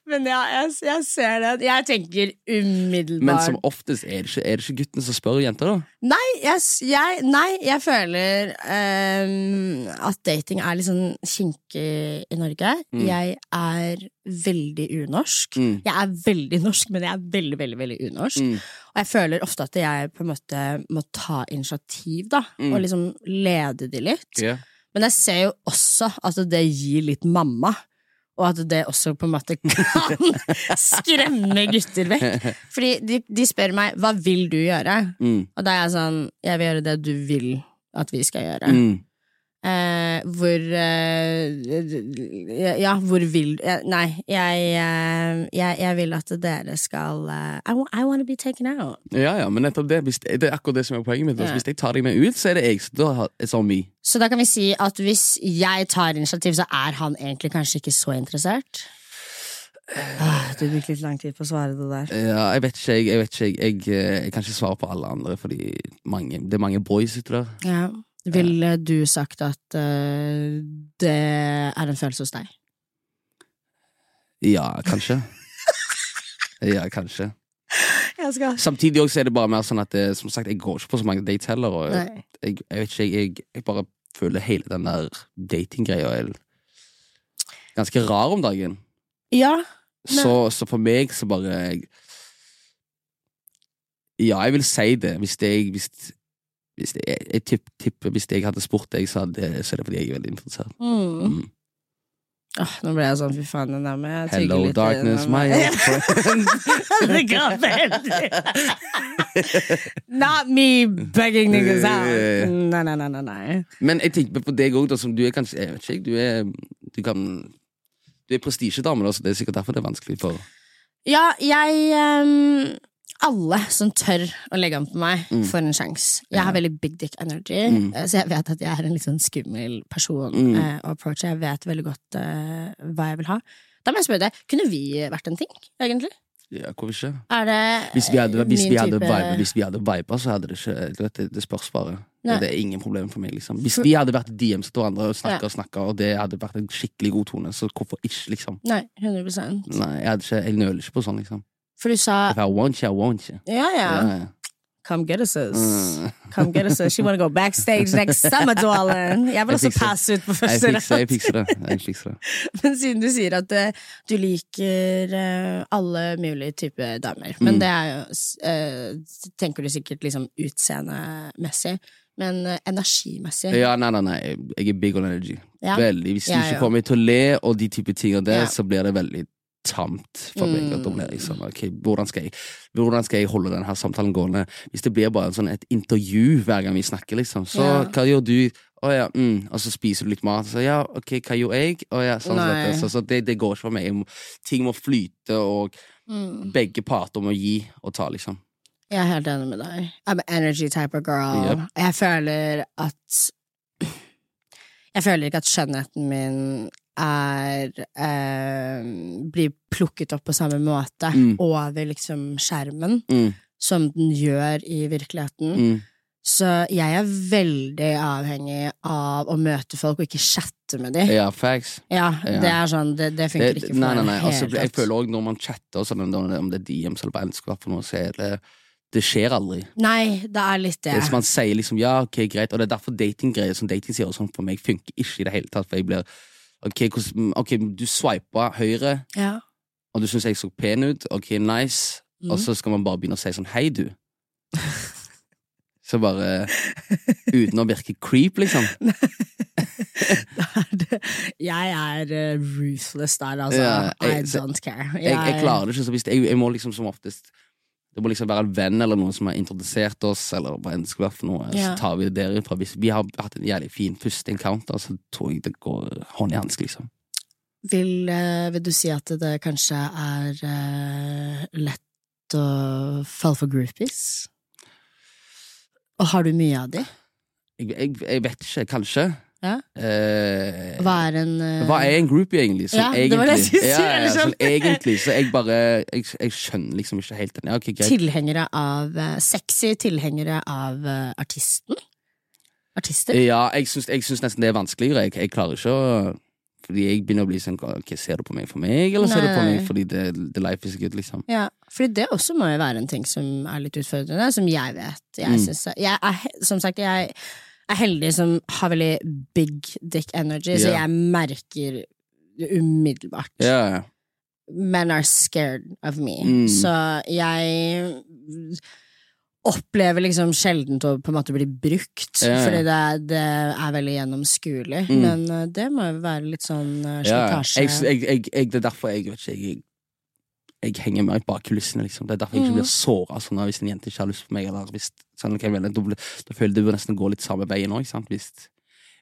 Men ja, jeg, jeg ser den. Jeg tenker Men umiddelbart som oftest er det ikke, er det ikke gutten som spør jenta, da. nei, jeg, s- jeg, nei, jeg føler ehm, at dating er litt sånn kinkig i Norge. Mm. Jeg er veldig unorsk. Mm. Jeg er veldig norsk, men jeg er veldig, veldig, veldig unorsk. Mm. Og jeg føler ofte at jeg på en måte må ta initiativ, da. Mm. Og liksom lede de litt. Ja. Men jeg ser jo også at det gir litt mamma. Og at det også på en måte kan skremme gutter vekk. Fordi de, de spør meg 'hva vil du gjøre?' Mm. Og da er jeg sånn 'jeg vil gjøre det du vil at vi skal gjøre'. Mm. Eh, hvor eh, Ja, hvor vil eh, Nei, jeg, eh, jeg, jeg vil at dere skal eh, I, wa- I wanna be taken out. Ja, ja, men nettopp det. Hvis, det er akkurat det som er poenget mitt. altså. Ja. Hvis jeg tar deg med ut, så er det jeg. Så da har- it's on me. Så da kan vi si at hvis jeg tar initiativ, så er han egentlig kanskje ikke så interessert? Ah, du brukte litt lang tid på å svare det der. Ja, jeg vet ikke, jeg, jeg, vet ikke jeg, jeg, eh, jeg kan ikke svare på alle andre, fordi mange, det er mange boys ute der. Ja. Ville du sagt at eh, det er en følelse hos deg? Ja, kanskje. ja, kanskje. Jeg skal Samtidig også er det bare mer sånn at eh, Som sagt, jeg går ikke på så mange dates heller. Og jeg, Nei. jeg, vet ikke, jeg, jeg, jeg bare føler hele den der datinggreia er ganske rar om dagen. Ja. Så, så for meg så bare jeg, Ja, jeg vil si det. Hvis jeg, hvis, hvis jeg, jeg tipp, tipper hvis jeg hadde spurt deg, så, hadde, så er det fordi jeg er veldig interessert. Mm. Mm. Åh, nå ble jeg sånn fy faen, den der med tygge Hello, litt eh, i den darkness, der my med- old friend. the government. Not me begging niggas Yeah. out. Nei, nei, nei, nei, nei. Men jeg tenker på deg òg, som du er kanskje Jeg vet ikke, du er Du kan Du er prestisjedame, da, så det er sikkert derfor det er vanskelig for Ja, jeg ehm, Alle som tør å legge an på meg, Mm. får en sjanse. Jeg har veldig big dick energy, Mm. eh, så jeg vet at jeg er en litt sånn skummel person Mm. eh, å approache. Jeg vet veldig godt eh, hva jeg vil ha. Da må jeg spørre deg, kunne vi vært en ting, egentlig? Ja, hvorfor ikke? Er det Hvis vi hadde, hvis Eh, min vi hadde, type- vibe- hvis vi hadde viba, så hadde det ikke du vet, Det, det spørs bare. Nei. Det er ingen problem for meg. liksom Hvis vi hadde vært DMs til hverandre og snakka Ja. og snakka, og det hadde vært en skikkelig god tone, så hvorfor ikke, liksom? Nei, 100 Nei, jeg, hadde ikke, jeg nøler ikke på sånn, liksom. For du sa If I want you, I want you. ja, ja. Ja, Come get us. us. Mm. Come get us. us. She wanna go backstage next summer, darling. Jeg vil også Jeg fikser. passe ut på Jeg første fikser, jeg rad. fikser det. Jeg fikser det. Men siden du sier at eh, du liker eh, alle mulige typer damer, Mm. men det er jo s- eh, Tenker du sikkert liksom utseendemessig, men eh, energimessig. Ja, nei, nei, nei. Jeg er big on energy. Ja. Veldig. Hvis Ja, du ja. ikke får meg til å le og de type ting og det, Ja. så blir det veldig tamt for meg. Og da blir jeg Mm. sånn, ok, hvordan skal jeg, hvordan skal jeg holde denne samtalen gående? Hvis det blir bare en sånn, et intervju hver gang vi snakker, liksom. Så Ja. hva gjør du? Å ja, mm. Og så spiser du litt mat. Så ja, ok, hva gjør jeg? Å ja, sånn som Nei. dette. Så, så det, det går ikke for meg. Jeg må, ting må flyte, og Mm. begge parter må gi og ta, liksom. Jeg er helt enig med deg. I'm an energy type of girl. Yep. Jeg føler at Jeg føler ikke at skjønnheten min er eh, Blir plukket opp på samme måte Mm. over liksom skjermen Mm, som den gjør i virkeligheten. mm, Så jeg er veldig avhengig av å møte folk og ikke chatte chatte med dem. Ja, facts. Ja, Ja. det er sånn, det, det funker Det- ikke det- for nei, nei, meg i nei. det Altså, hele tatt. jeg føler også når man chatter, og sånn, om det- om det er DMs eller bare elsker, hva for noe, så er det Det skjer aldri. Nei, det er litt det. Det er som man sier liksom, ja, ok, greit Og det er derfor datinggreier som dating sier og sånn for meg funker ikke i det hele tatt. For jeg blir Ok, hvordan, ok du swipa høyre, ja. og du syns jeg så pen ut. Ok, nice. Og Mm. så skal man bare begynne å si sånn hei, du. Så bare Uten å virke creep, liksom. Jeg er eh, ruthless der, altså. Ja, jeg- I så- don't care. Jeg, jeg klarer det ikke så hvis jeg, jeg må liksom som oftest Det må liksom være en venn eller noen som har introdusert oss, eller hva enn det skal være for noe. Ja. Så tar vi det derifra. Hvis vi har hatt en jævlig fin første encounter, så tror jeg det går hånd i hanske, liksom. Vil, eh, vil du si at det kanskje er eh, lett å falle for groupies? Og har du mye av de? Eh, Jeg, jeg, jeg vet ikke, kanskje. Ja. Eh, Hva er en eh, hva er en groupie, egentlig? Sånn, Ja, det var det jeg egentlig? skulle si, Ja, ja, ja, liksom. sånn, egentlig, så jeg bare Jeg, jeg skjønner liksom ikke helt den. Ja, ok, greit. tilhengere av eh, Sexy tilhengere av eh, artisten? Artister? Ja, jeg syns, jeg syns nesten det er vanskeligere. Jeg, jeg klarer ikke å Fordi jeg begynner å bli sånn ok, Ser du på meg for meg, eller ser Nei, du på nei. meg fordi det, the life is good, liksom? Ja, fordi det også må jo være en ting som er litt utfordrende, som jeg vet. Jeg, Mm. synes, jeg er, he- som sagt, jeg er heldig som har veldig big dick energy, så Ja. jeg merker det umiddelbart. Ja, ja. Men are scared of me. Mm. Så jeg opplever liksom sjelden å på en måte bli brukt, Ja, ja. fordi det, er- det er veldig gjennomskuelig. Mm. Men eh, det må jo være litt sånn eh, ja. ja. slitasje. Jeg, jeg, jeg, jeg, det er derfor jeg vet ikke jeg, jeg henger meg bak kulissene, liksom. Det er derfor jeg ikke blir såra sånn, hvis en jente ikke har lyst på meg. Eller hvis, sånn, hva jeg mener, da, blir- da føler jeg det bør nesten gå litt samme veien òg. Hvis,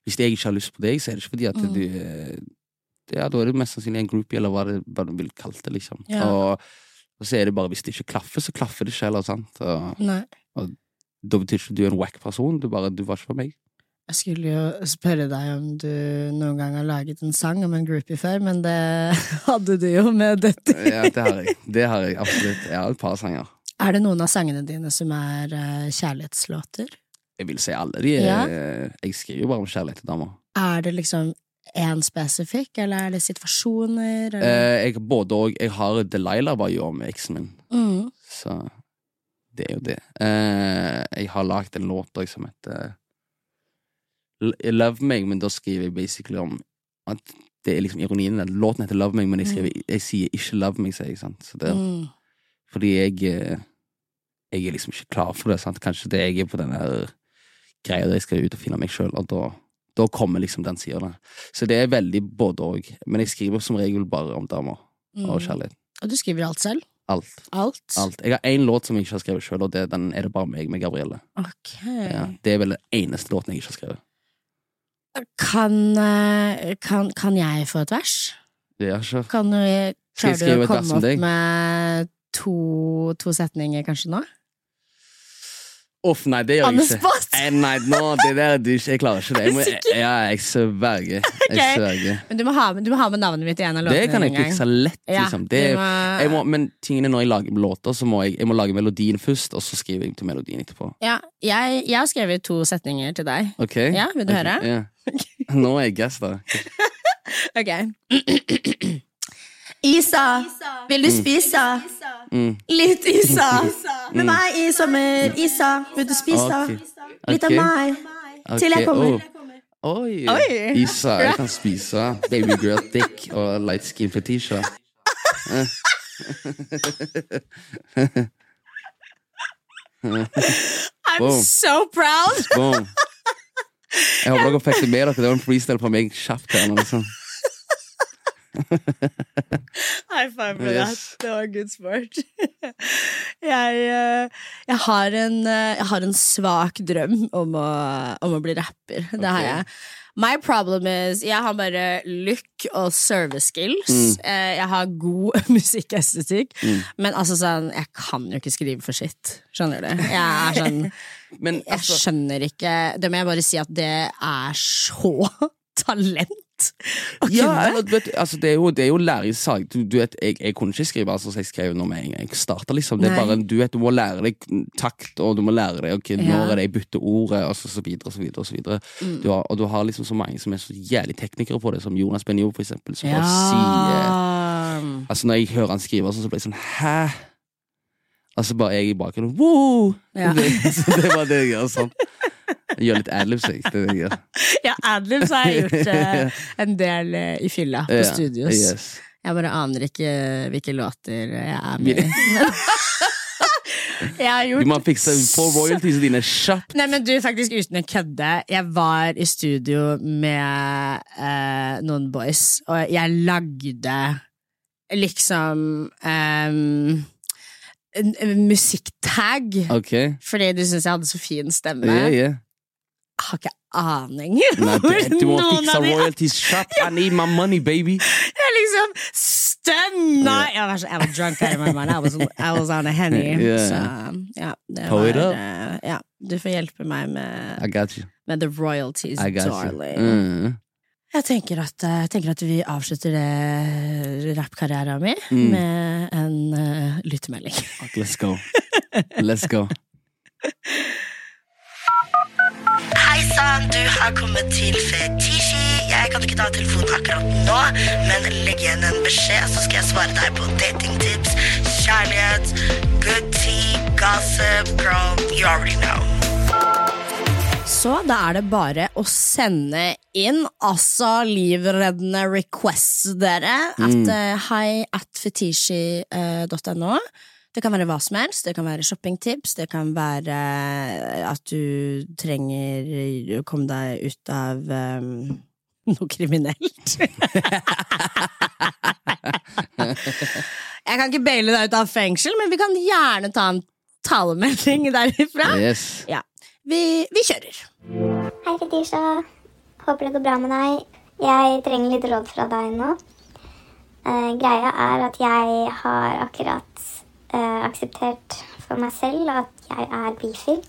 hvis jeg ikke har lyst på deg, så er det ikke fordi at du eh, ja, Da er det mest sannsynlig en groupie, eller hva, det, hva du vil kalle det. liksom Ja. og, og så er det bare hvis det ikke klaffer, så klaffer det ikke heller. sant? Og, Nei. da betyr ikke at du er en wack person. Du bare, du var ikke for meg. Jeg skulle jo spørre deg om du noen gang har laget en sang om en groupie før, men det hadde du jo med dette. Ja, det har jeg. Det har jeg absolutt. Jeg har et par sanger. Er det noen av sangene dine som er eh, kjærlighetslåter? Jeg vil si alle de. er- Ja. Jeg skriver jo bare om kjærlighet til damer. Er det liksom én spesifikk, eller er det situasjoner? Eller? Eh, Jeg, både og, jeg har Delilah var jo om eksen min, mm. så det er jo det. Eh, Jeg har lagd en låt også som heter L- Love Meg, men da skriver jeg basically om at det er liksom ironien. i den. Låten heter Love Meg, men jeg, skriver, jeg sier ikke Love Meg, sier jeg. sant? Så det er Mm. Fordi jeg eh, Jeg er liksom ikke klar for det. Sant? Kanskje det jeg er på den her greia der jeg skal ut og finne meg sjøl, og da, da kommer liksom den sida der. Så det er veldig både og. Men jeg skriver som regel bare om damer og kjærlighet. mm. Og du skriver alt selv? Alt. Alt? alt. Jeg har én låt som jeg ikke har skrevet sjøl, og det, den er det bare meg med Gabrielle. Ok. Ja, det er vel den eneste låten jeg ikke har skrevet. Kan, eh, kan, kan jeg få et vers? Det er ikke Kan du, Skal klarer du jeg skrive å et vers om komme opp deg? med to, to setninger, kanskje, nå? Uff, nei, det gjør On the jeg ikke. spot? Eh, Nei, nå, det der er du ikke Jeg klarer ikke det. Jeg må, Er du sikker? ja, jeg sverger. Jeg Ok. sverger. Men du må ha med, du må ha med navnet mitt i en av låtene. Det kan jeg en gang. fikse lett, Ja, liksom. Det, du må- jeg må, men tingene når jeg lager låter, så må jeg, jeg må lage melodien først, og så skriver jeg til melodien etterpå. Ja, jeg, jeg har skrevet to setninger til deg. Ok? Ja, vil du Ok, høre? ja. Nå er jeg gass, da. Ok. Isa, vil Mm. du spise? Litt Isa. Med meg i sommer. Isa, vil du spise? Mm. Ok. Litt av Ok. meg. Til jeg Ok, kommer. oh. Oi. Oi. Isa, jeg kan spise baby girl dick og light skin fetisha. I'm Wow. so proud! Boom. Jeg håper dere fikk det med dere. Det var en freestyle på meg kjapt her nå, liksom. High five med Yes. deg. Det var good sport. jeg, eh, jeg, har en, eh, jeg har en svak drøm om å, om å bli rapper. Det har jeg. My problem is jeg har bare look og service Mm. skills. Eh, Jeg har god musikkestetikk. Men altså sånn, jeg kan jo ikke skrive for sitt. Skjønner du? Jeg er sånn Men Jeg altså skjønner ikke Det må jeg bare si at det er så talent godt å Ja, kunne. eller, du vet, altså, det, er jo, det er jo læringssak. Du, du vet, jeg, jeg kunne ikke skrive altså, så jeg skrev nå med en gang jeg starta. Liksom. Det er Nei. bare, en- du, vet, du må lære deg takt, og du må lære deg ok, Ja. når er det jeg bytter ordet, og så, så videre. Og så videre, og så videre. Mm. Du har, og du har liksom så mange som er så jævlig teknikere på det, som Jonas Benjo, for eksempel. Som bare sier Altså, når jeg hører han skrive, sånn, så blir jeg sånn Hæ? Altså, bare jeg i bakgrunnen Wow! Ja. Det, så det var det jeg gjør. sånn Jeg gjør litt adlibs, jeg. Det er det jeg gjør. Ja, adlibs har jeg gjort eh, en del eh, i fylla på Ja, studios. Yes. Jeg bare aner ikke eh, hvilke låter jeg er med i. jeg har Du gjort må fikse på royaltiesene dine kjapt. Nei, men du, faktisk uten å kødde. Jeg var i studio med eh, noen boys, og jeg lagde liksom em, en- en musikktag. Ok. Fordi du syntes jeg hadde så fin stemme. Yeah, yeah. Jeg har ikke aning Nei, du, du må Noen fikse av de- royalties kjapt. I need my money, baby. Jeg liksom stønna! Jeg var, så, jeg var drunk out of my mind. I was, I was on a henny. Ja. Så ja, det Power var, up. eh, ja. Du får hjelpe meg med, I got you. med the royalties, I got you. darling. Mm. Jeg tenker at, eh, jeg tenker at vi avslutter det rappkarrieren min Mm. med en eh, lyttemelding. Let's go. Let's go. Hei sann, du har kommet til Fetisji. Jeg kan ikke ta telefonen akkurat nå, men legg igjen en beskjed, så skal jeg svare deg på datingtips, kjærlighet, good tea, gossip, girl, you already know. Så da er det bare å sende inn altså livreddende requests, dere. At eh, hei at eh, fetishi.no. Det kan være hva som helst. Det kan være shoppingtips. Det kan være eh, at du trenger eh, å komme deg ut av eh, noe kriminelt. Jeg kan ikke baile deg ut av fengsel, men vi kan gjerne ta en talemelding derifra. Yes. Ja. Vi, vi kjører. Hei, Fetisha. Håper det går bra med deg. Jeg trenger litt råd fra deg nå. Eh, greia er at jeg har akkurat eh, akseptert for meg selv at jeg er bifil.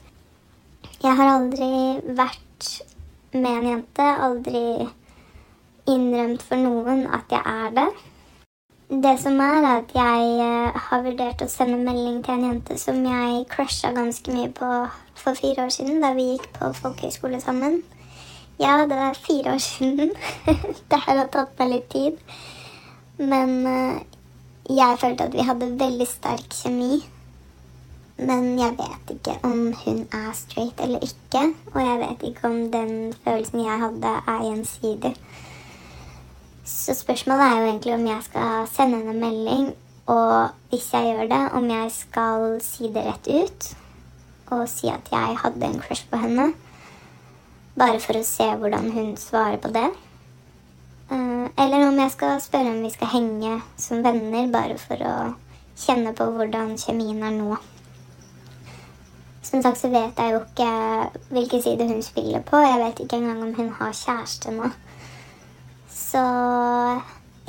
Jeg har aldri vært med en jente, aldri innrømt for noen at jeg er det. Det som er, er at jeg eh, har vurdert å sende melding til en jente som jeg crusha ganske mye på for fire år siden, da vi gikk på folkehøyskole sammen. Ja, det var fire år siden. det her har tatt meg litt tid. Men eh, jeg følte at vi hadde veldig sterk kjemi. Men jeg vet ikke om hun er straight eller ikke. Og jeg vet ikke om den følelsen jeg hadde, er gjensidig. Så spørsmålet er jo egentlig om jeg skal sende henne en melding. Og hvis jeg gjør det, om jeg skal si det rett ut og si at jeg hadde en crush på henne. Bare for å se hvordan hun svarer på det. Eh, Eller om jeg skal spørre om vi skal henge som venner, bare for å kjenne på hvordan kjemien er nå. Som sagt så vet jeg jo ikke hvilken side hun spiller på. Jeg vet ikke engang om hun har kjæreste nå. Så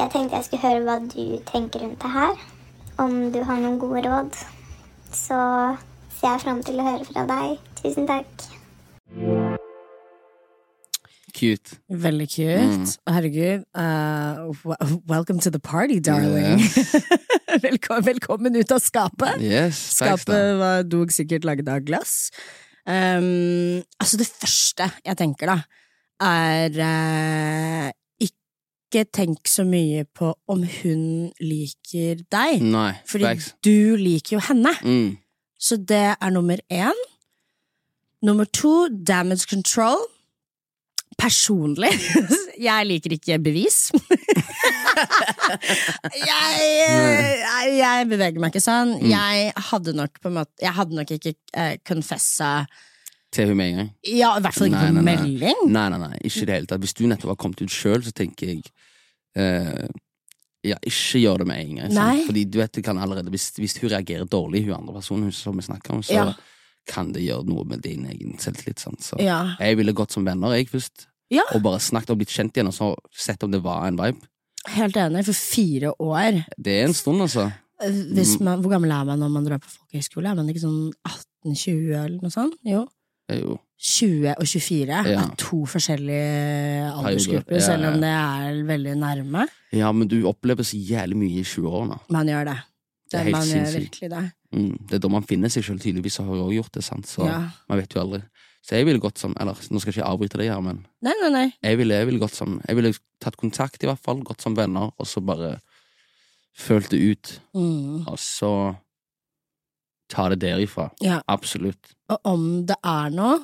jeg tenkte jeg skulle høre hva du tenker rundt det her. Om du har noen gode råd. Så ser jeg fram til å høre fra deg. Tusen takk. Cute. Veldig kult. Herregud. eh, w- welcome to the party, darling. velkommen, velkommen ut av skapet. Yes. Facts, da. Skapet var dog sikkert laget av glass. Um, altså, det første jeg tenker, da, er eh, Ikke tenk så mye på om hun liker deg, Nei. fordi Mm, Facts. du liker jo henne. Mm. Så det er nummer én. Nummer to, damage control. Personlig. Jeg liker ikke bevis. jeg, eh, jeg beveger meg ikke sånn. Mm. Jeg hadde nok på en måte Jeg hadde nok ikke eh, confessa Til hun med en gang. Ja, i hvert fall ikke Nei, på nei, nei. melding. Nei, nei, nei, ikke i det hele tatt. Hvis du nettopp har kommet ut sjøl, så tenker jeg eh, Ja, ikke gjør det med en gang. sant? Nei. Fordi du vet, det kan allerede hvis, hvis hun reagerer dårlig, hun andre personen hun som vi snakker om, så Ja. kan det gjøre noe med din egen selvtillit. sant? Så Ja. jeg ville gått som venner, jeg først, Ja. og bare snakket og blitt kjent igjen, og så sett om det var en vibe. Helt enig. For fire år Det er en stund, altså. Eh, hvis man, Hvor gammel er man når man drar på folkehøyskole? Er man ikke sånn 18-20 eller noe sånt? Jo. Det er jo 20 og 24 Ja. er to forskjellige aldersgrupper, Ja, ja, selv om ja. det er veldig nærme. Ja, men du opplever så jævlig mye i 20-årene. Man gjør det. Det er det helt man gjør sinnssykt. virkelig det. Mm. Det er da man finner seg selv tydeligvis, og har jeg også gjort det, sant? Så Ja. man vet jo aldri. Så jeg ville gått som, eller nå skal jeg ikke avbryte deg her, men Nei, nei, nei. jeg ville, jeg ville gått som, jeg ville tatt kontakt i hvert fall, gått som venner, og så bare følt det ut, Mm. og så ta det derifra. Ja. Absolutt. Og om det er noe,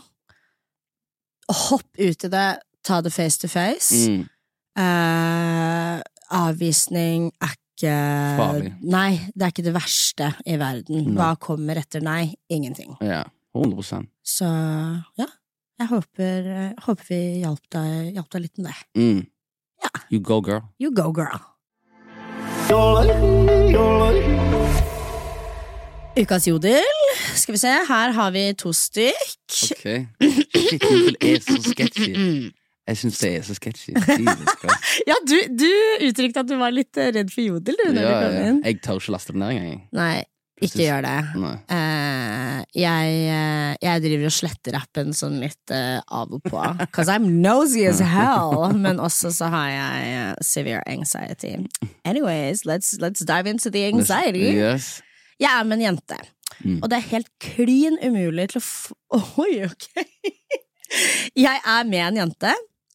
hopp ut i det, ta det face to face. Mm. Eh, avvisning er ikke Farlig. Nei, det er ikke det verste i verden. Nei. Hva kommer etter nei? Ingenting. Ja, 100 Så ja, jeg håper, eh, håper vi hjalp deg, hjalp deg litt med det. mm. Ja. You go, girl. You go, girl. Ukas jodel. Skal vi se, her har vi to stykk. Ok. Shit, Google er så sketchy. Jeg syns det er så sketchy. Jesus Christ. Ja, du, du uttrykte at du var litt eh, redd for jodel du, når Ja, du kom ja. inn. Jeg tør ikke laste den ned engang. jeg. Nei, ikke Precis. gjør det. Nei. Eh, jeg, eh, jeg driver og sletter appen sånn litt eh, av og på. Cause I'm nosy as hell. Men også så har jeg eh, severe anxiety. Anyways, let's, let's dive into the anxiety. Yes. Jeg er med en jente, Mm. og det er helt klin umulig til å f... Oi, ok! Jeg er med en jente,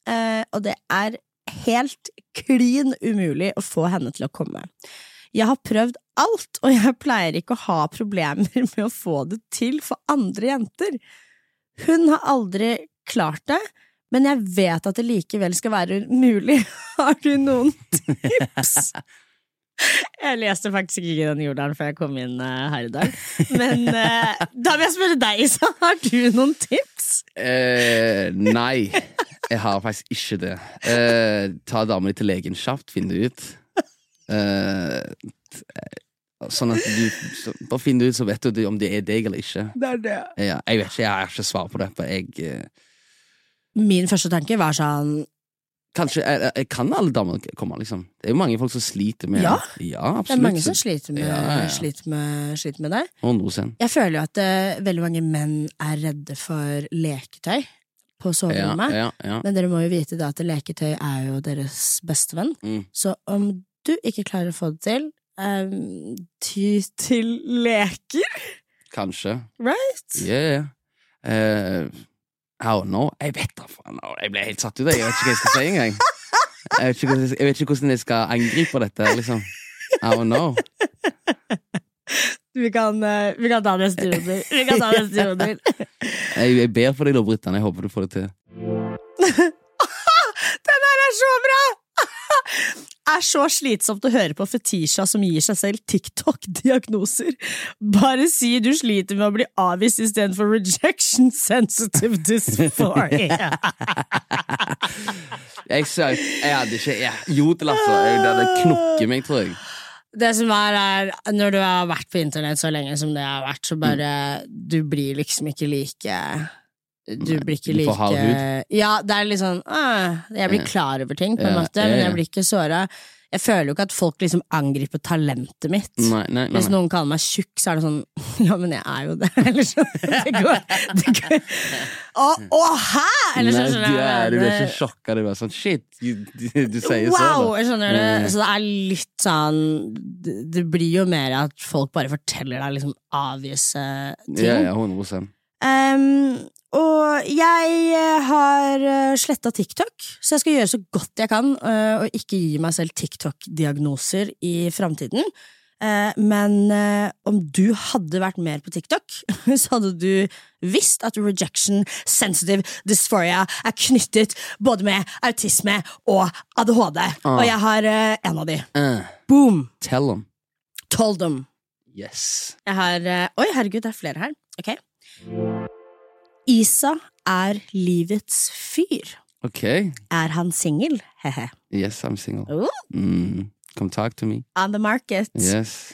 eh, og det er helt klin umulig å få henne til å komme. Jeg har prøvd alt, og jeg pleier ikke å ha problemer med å få det til for andre jenter. Hun har aldri klart det, men jeg vet at det likevel skal være mulig. Har du noen tips? Jeg leste faktisk ikke den jordalen før jeg kom inn eh, her i dag. Men eh, da vil jeg spørre deg, Isa. Har du noen tips? Eh, nei, jeg har faktisk ikke det. Eh, ta dama di til legen kjapt, finn det ut. Eh, t- eh, sånn at du så, Bare finn det ut, så vet du om det er deg eller ikke. Det er det. Ja, jeg vet ikke, jeg har ikke svar på det. For jeg, eh, Min første tanke var sånn kanskje, jeg, jeg- jeg Kan alle damer komme, liksom? Det er jo mange folk som sliter med Ja. ja absolutt. Det er mange som Så- sliter med, Ja, ja, ja. Sliter med, sliter med det. 100 Jeg føler jo at eh, veldig mange menn er redde for leketøy på ja, soverommet. ja, ja. Men dere må jo vite da at leketøy er jo deres bestevenn. Mm. Så om du ikke klarer å få det til, eh, ty til leker, Kanskje. right? Yeah. Uh, I don't know. Jeg vet da faen. Au, Jeg ble helt satt ut. Jeg vet ikke hva jeg skal si engang. Jeg vet ikke, hvordan jeg skal- jeg vet ikke hvordan jeg skal angripe dette. liksom I don't know. Vi kan, eh, vi kan ta neste runde. Vi kan ta neste runde. Jeg, jeg ber for deg, da, Brittan. Jeg håper du får det til. Den her er så bra! Er så slitsomt å høre på Fetisha som gir seg selv TikTok-diagnoser. Bare si du sliter med å bli avvist istedenfor rejection sensitive dysphoria. Jeg, sa- jeg hadde ikke jeg, Jodel, altså. Jeg, det hadde knukket meg, tror jeg. Det som er, er Når du har vært på internett så lenge som det jeg har vært, så bare Du blir liksom ikke like Du Nei, blir ikke du like får hard Ja, det er litt sånn øh, Jeg blir klar over ting, på en Ja, måte, ja, men ja. jeg blir ikke såra. Jeg føler jo ikke at folk liksom angriper talentet mitt. Nei, nei, nei, Hvis nei. noen kaller meg tjukk, så er det sånn Ja, men jeg er jo det. Eller skjønner du? Det går, det går. Å, å, hæ?! Eller så Nei, skjønner jeg hva du, er, jeg du blir mener. ikke sjokka. Du er bare sånn shit. You, du, du sier sånn, Wow! så. Jeg skjønner det. Mm. Så det er litt sånn Det det blir jo mer at folk bare forteller deg liksom avvise ting. da. Ja, ja, 100 Ehm, og jeg eh, har sletta TikTok, så jeg skal gjøre så godt jeg kan eh, og ikke gi meg selv TikTok-diagnoser i framtiden. Eh, men eh, om du hadde vært mer på TikTok, så hadde du visst at rejection sensitive dysphoria er knyttet både med autisme og ADHD. Og jeg har eh, en av de. Eh, Boom! tell them. Told them. Yes. Jeg har eh, Oi, herregud, det er flere her. Ok. Isa er livets fyr. Ok. Er han singel? Hehe. Yes, I'm single. Ooh, Mm. Come talk to me. On the market. Yes.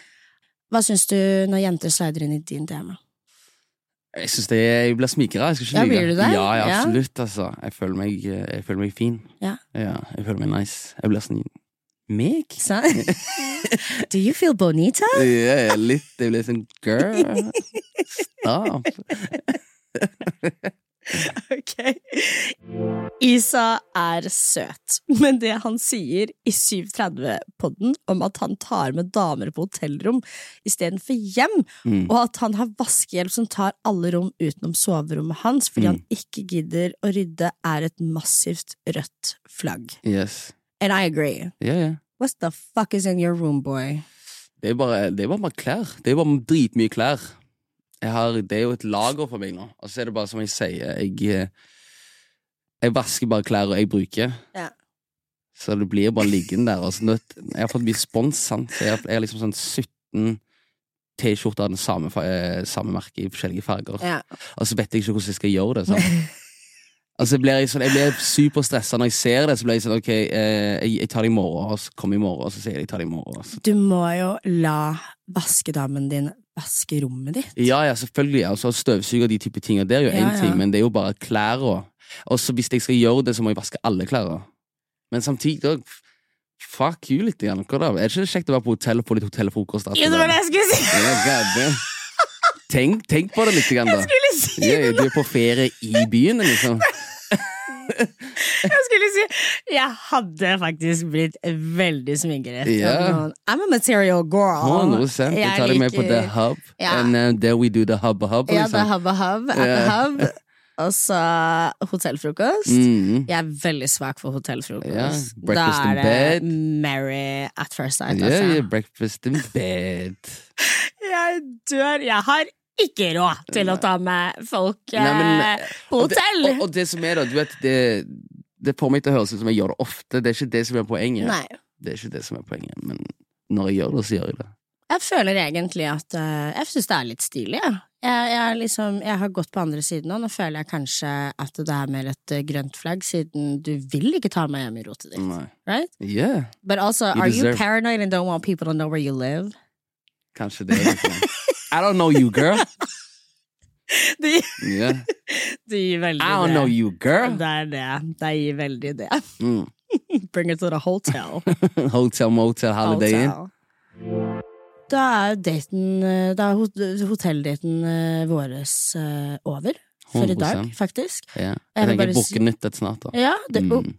Hva syns du når jenter slider inn i din DM? Jeg synes det jeg blir smigra. Jeg skal ikke Ja, lyve. blir du det? Ja, ja, Ja. absolutt. Altså. Jeg, føler meg, eh, jeg føler meg fin. Ja. jeg føler meg nice. Jeg blir sånn Meg? Sa- Do you feel bonita? Ja, jeg er litt Jeg blir sånn girl. Stopp. Ok. Isa er søt, men det han sier i 730-podden om at han tar med damer på hotellrom istedenfor hjem, Mm. og at han har vaskehjelp som tar alle rom utenom soverommet hans fordi han Mm. ikke gidder å rydde, er et massivt rødt flagg. Yes. And I agree. Ja, ja. What the fuck is in your room, boy? Det er bare, det er bare bare klær. Det er bare dritmye klær. Jeg har, det er jo et lager for meg nå. Og så er det bare som jeg sier, jeg, eh, jeg vasker bare klær og jeg bruker. Ja. Så det blir bare liggende der. Og så nødt- jeg har fått mye spons, sant? så jeg har, jeg har liksom sånn 17 T-skjorter av den samme, fa- eh, samme merke i forskjellige farger. Ja. Og så vet jeg ikke hvordan jeg skal gjøre det. Sant? Og så blir jeg, sånn, jeg blir superstressa når jeg ser det. Så blir jeg sånn, ok, eh, jeg, jeg tar det i morgen, og så kommer jeg i morgen, og så sier jeg jeg tar det i morgen. Og så Du må jo la vaskedamen din vaske rommet ditt. Ja, ja, selvfølgelig. Altså, støvsuger og de type ting. Og det er jo én Ja, ja. ting, men det er jo bare klær. Og og så hvis jeg skal gjøre det, så må jeg vaske alle klærne. Men samtidig òg Fuck you litt. Igjen. Hva da? Er det ikke kjekt å være på hotell og få litt hotellfrokost? etter Ja, det var det jeg skulle si! Ja, god damn. Tenk, tenk på det litt, grann, da. skulle si ja, ja, du er på ferie i byen, liksom. Jeg skulle si Jeg hadde faktisk blitt veldig smigret. Ja. av noen. I'm a material girl. 100 Jeg tar deg med på The liker- Hub, Ja. and uh, there we do the hub hub. Ja, The Liksom. Hub og Hub. at The Ja. Hub. Og så hotellfrokost. Mm. Jeg er veldig svak for hotellfrokost. Ja, Da breakfast in er bed. det Mary at first sight. Yeah, Altså. yeah, breakfast in bed. Jeg dør. Jeg har ikke råd til å ta med folk Nei, men- eh, på hotell. Og det, og, og det som er da, du vet det, det får meg til å høres ut som jeg gjør det ofte. Det er ikke det som er poenget. Nei. Det er ikke det som er poenget, men når jeg gjør det, så gjør jeg det. Jeg føler egentlig at eh, Jeg syns det er litt stilig, jeg. Jeg, jeg, er liksom, jeg har gått på andre siden nå. Nå føler jeg kanskje at det er mer et eh, grønt flagg, siden du vil ikke ta meg hjem i rotet ditt. Nei. Right? Yeah, But also, You are you deserve- paranoid and don't want people to know where you live? kanskje det. er liksom. I don't know you, girl. Det, Yeah. gir veldig I don't know you, girl. Det er det. Det gir veldig det. Mm. Bring it to the hotel. Hotel, motel, holiday inn. Hotel. Da er daten eh, Da er hot- hotelldaten eh, våres eh, over. For i dag, 100%. faktisk. Ja. Jeg Jeg vil tenker bare si- booke nytt et snart, da. Ja, det, oh, Mm.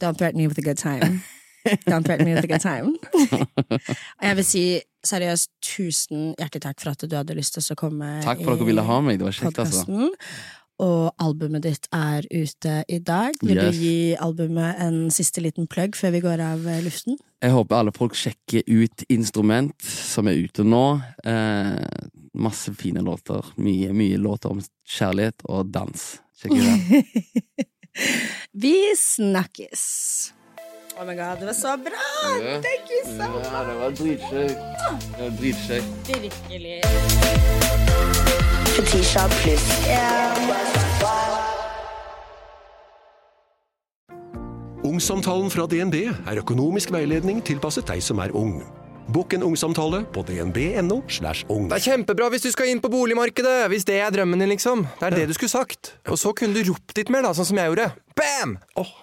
Don't threaten me with a good time. Don't threaten me with a good time. Og jeg vil si seriøst tusen hjertelig takk for at du hadde lyst til å komme Takk for at dere ville ha meg. Det var kjekt, altså. podkasten. Og albumet ditt er ute i dag. Vil Yes. du gi albumet en siste liten plugg før vi går av eh, luften? Jeg håper alle folk sjekker ut Instrument, som er ute nå. Eh, masse fine låter. Mye, mye låter om kjærlighet og dans. Sjekk ut den. Vi snakkes! Oh my god, det var så bra! Thank you so much! Ja, det var dritkjekt. Det var dritkjekt. Virkelig. Fetisha pluss. Ungsamtalen fra DNB er økonomisk veiledning tilpasset deg som er ung. Bokk en ungsamtale på dnb.no. slash ung. Det er kjempebra hvis du skal inn på boligmarkedet, hvis det er drømmen din, liksom. Det er det du skulle sagt. Og så kunne du ropt litt mer, da, sånn som jeg gjorde. Bam! Åh,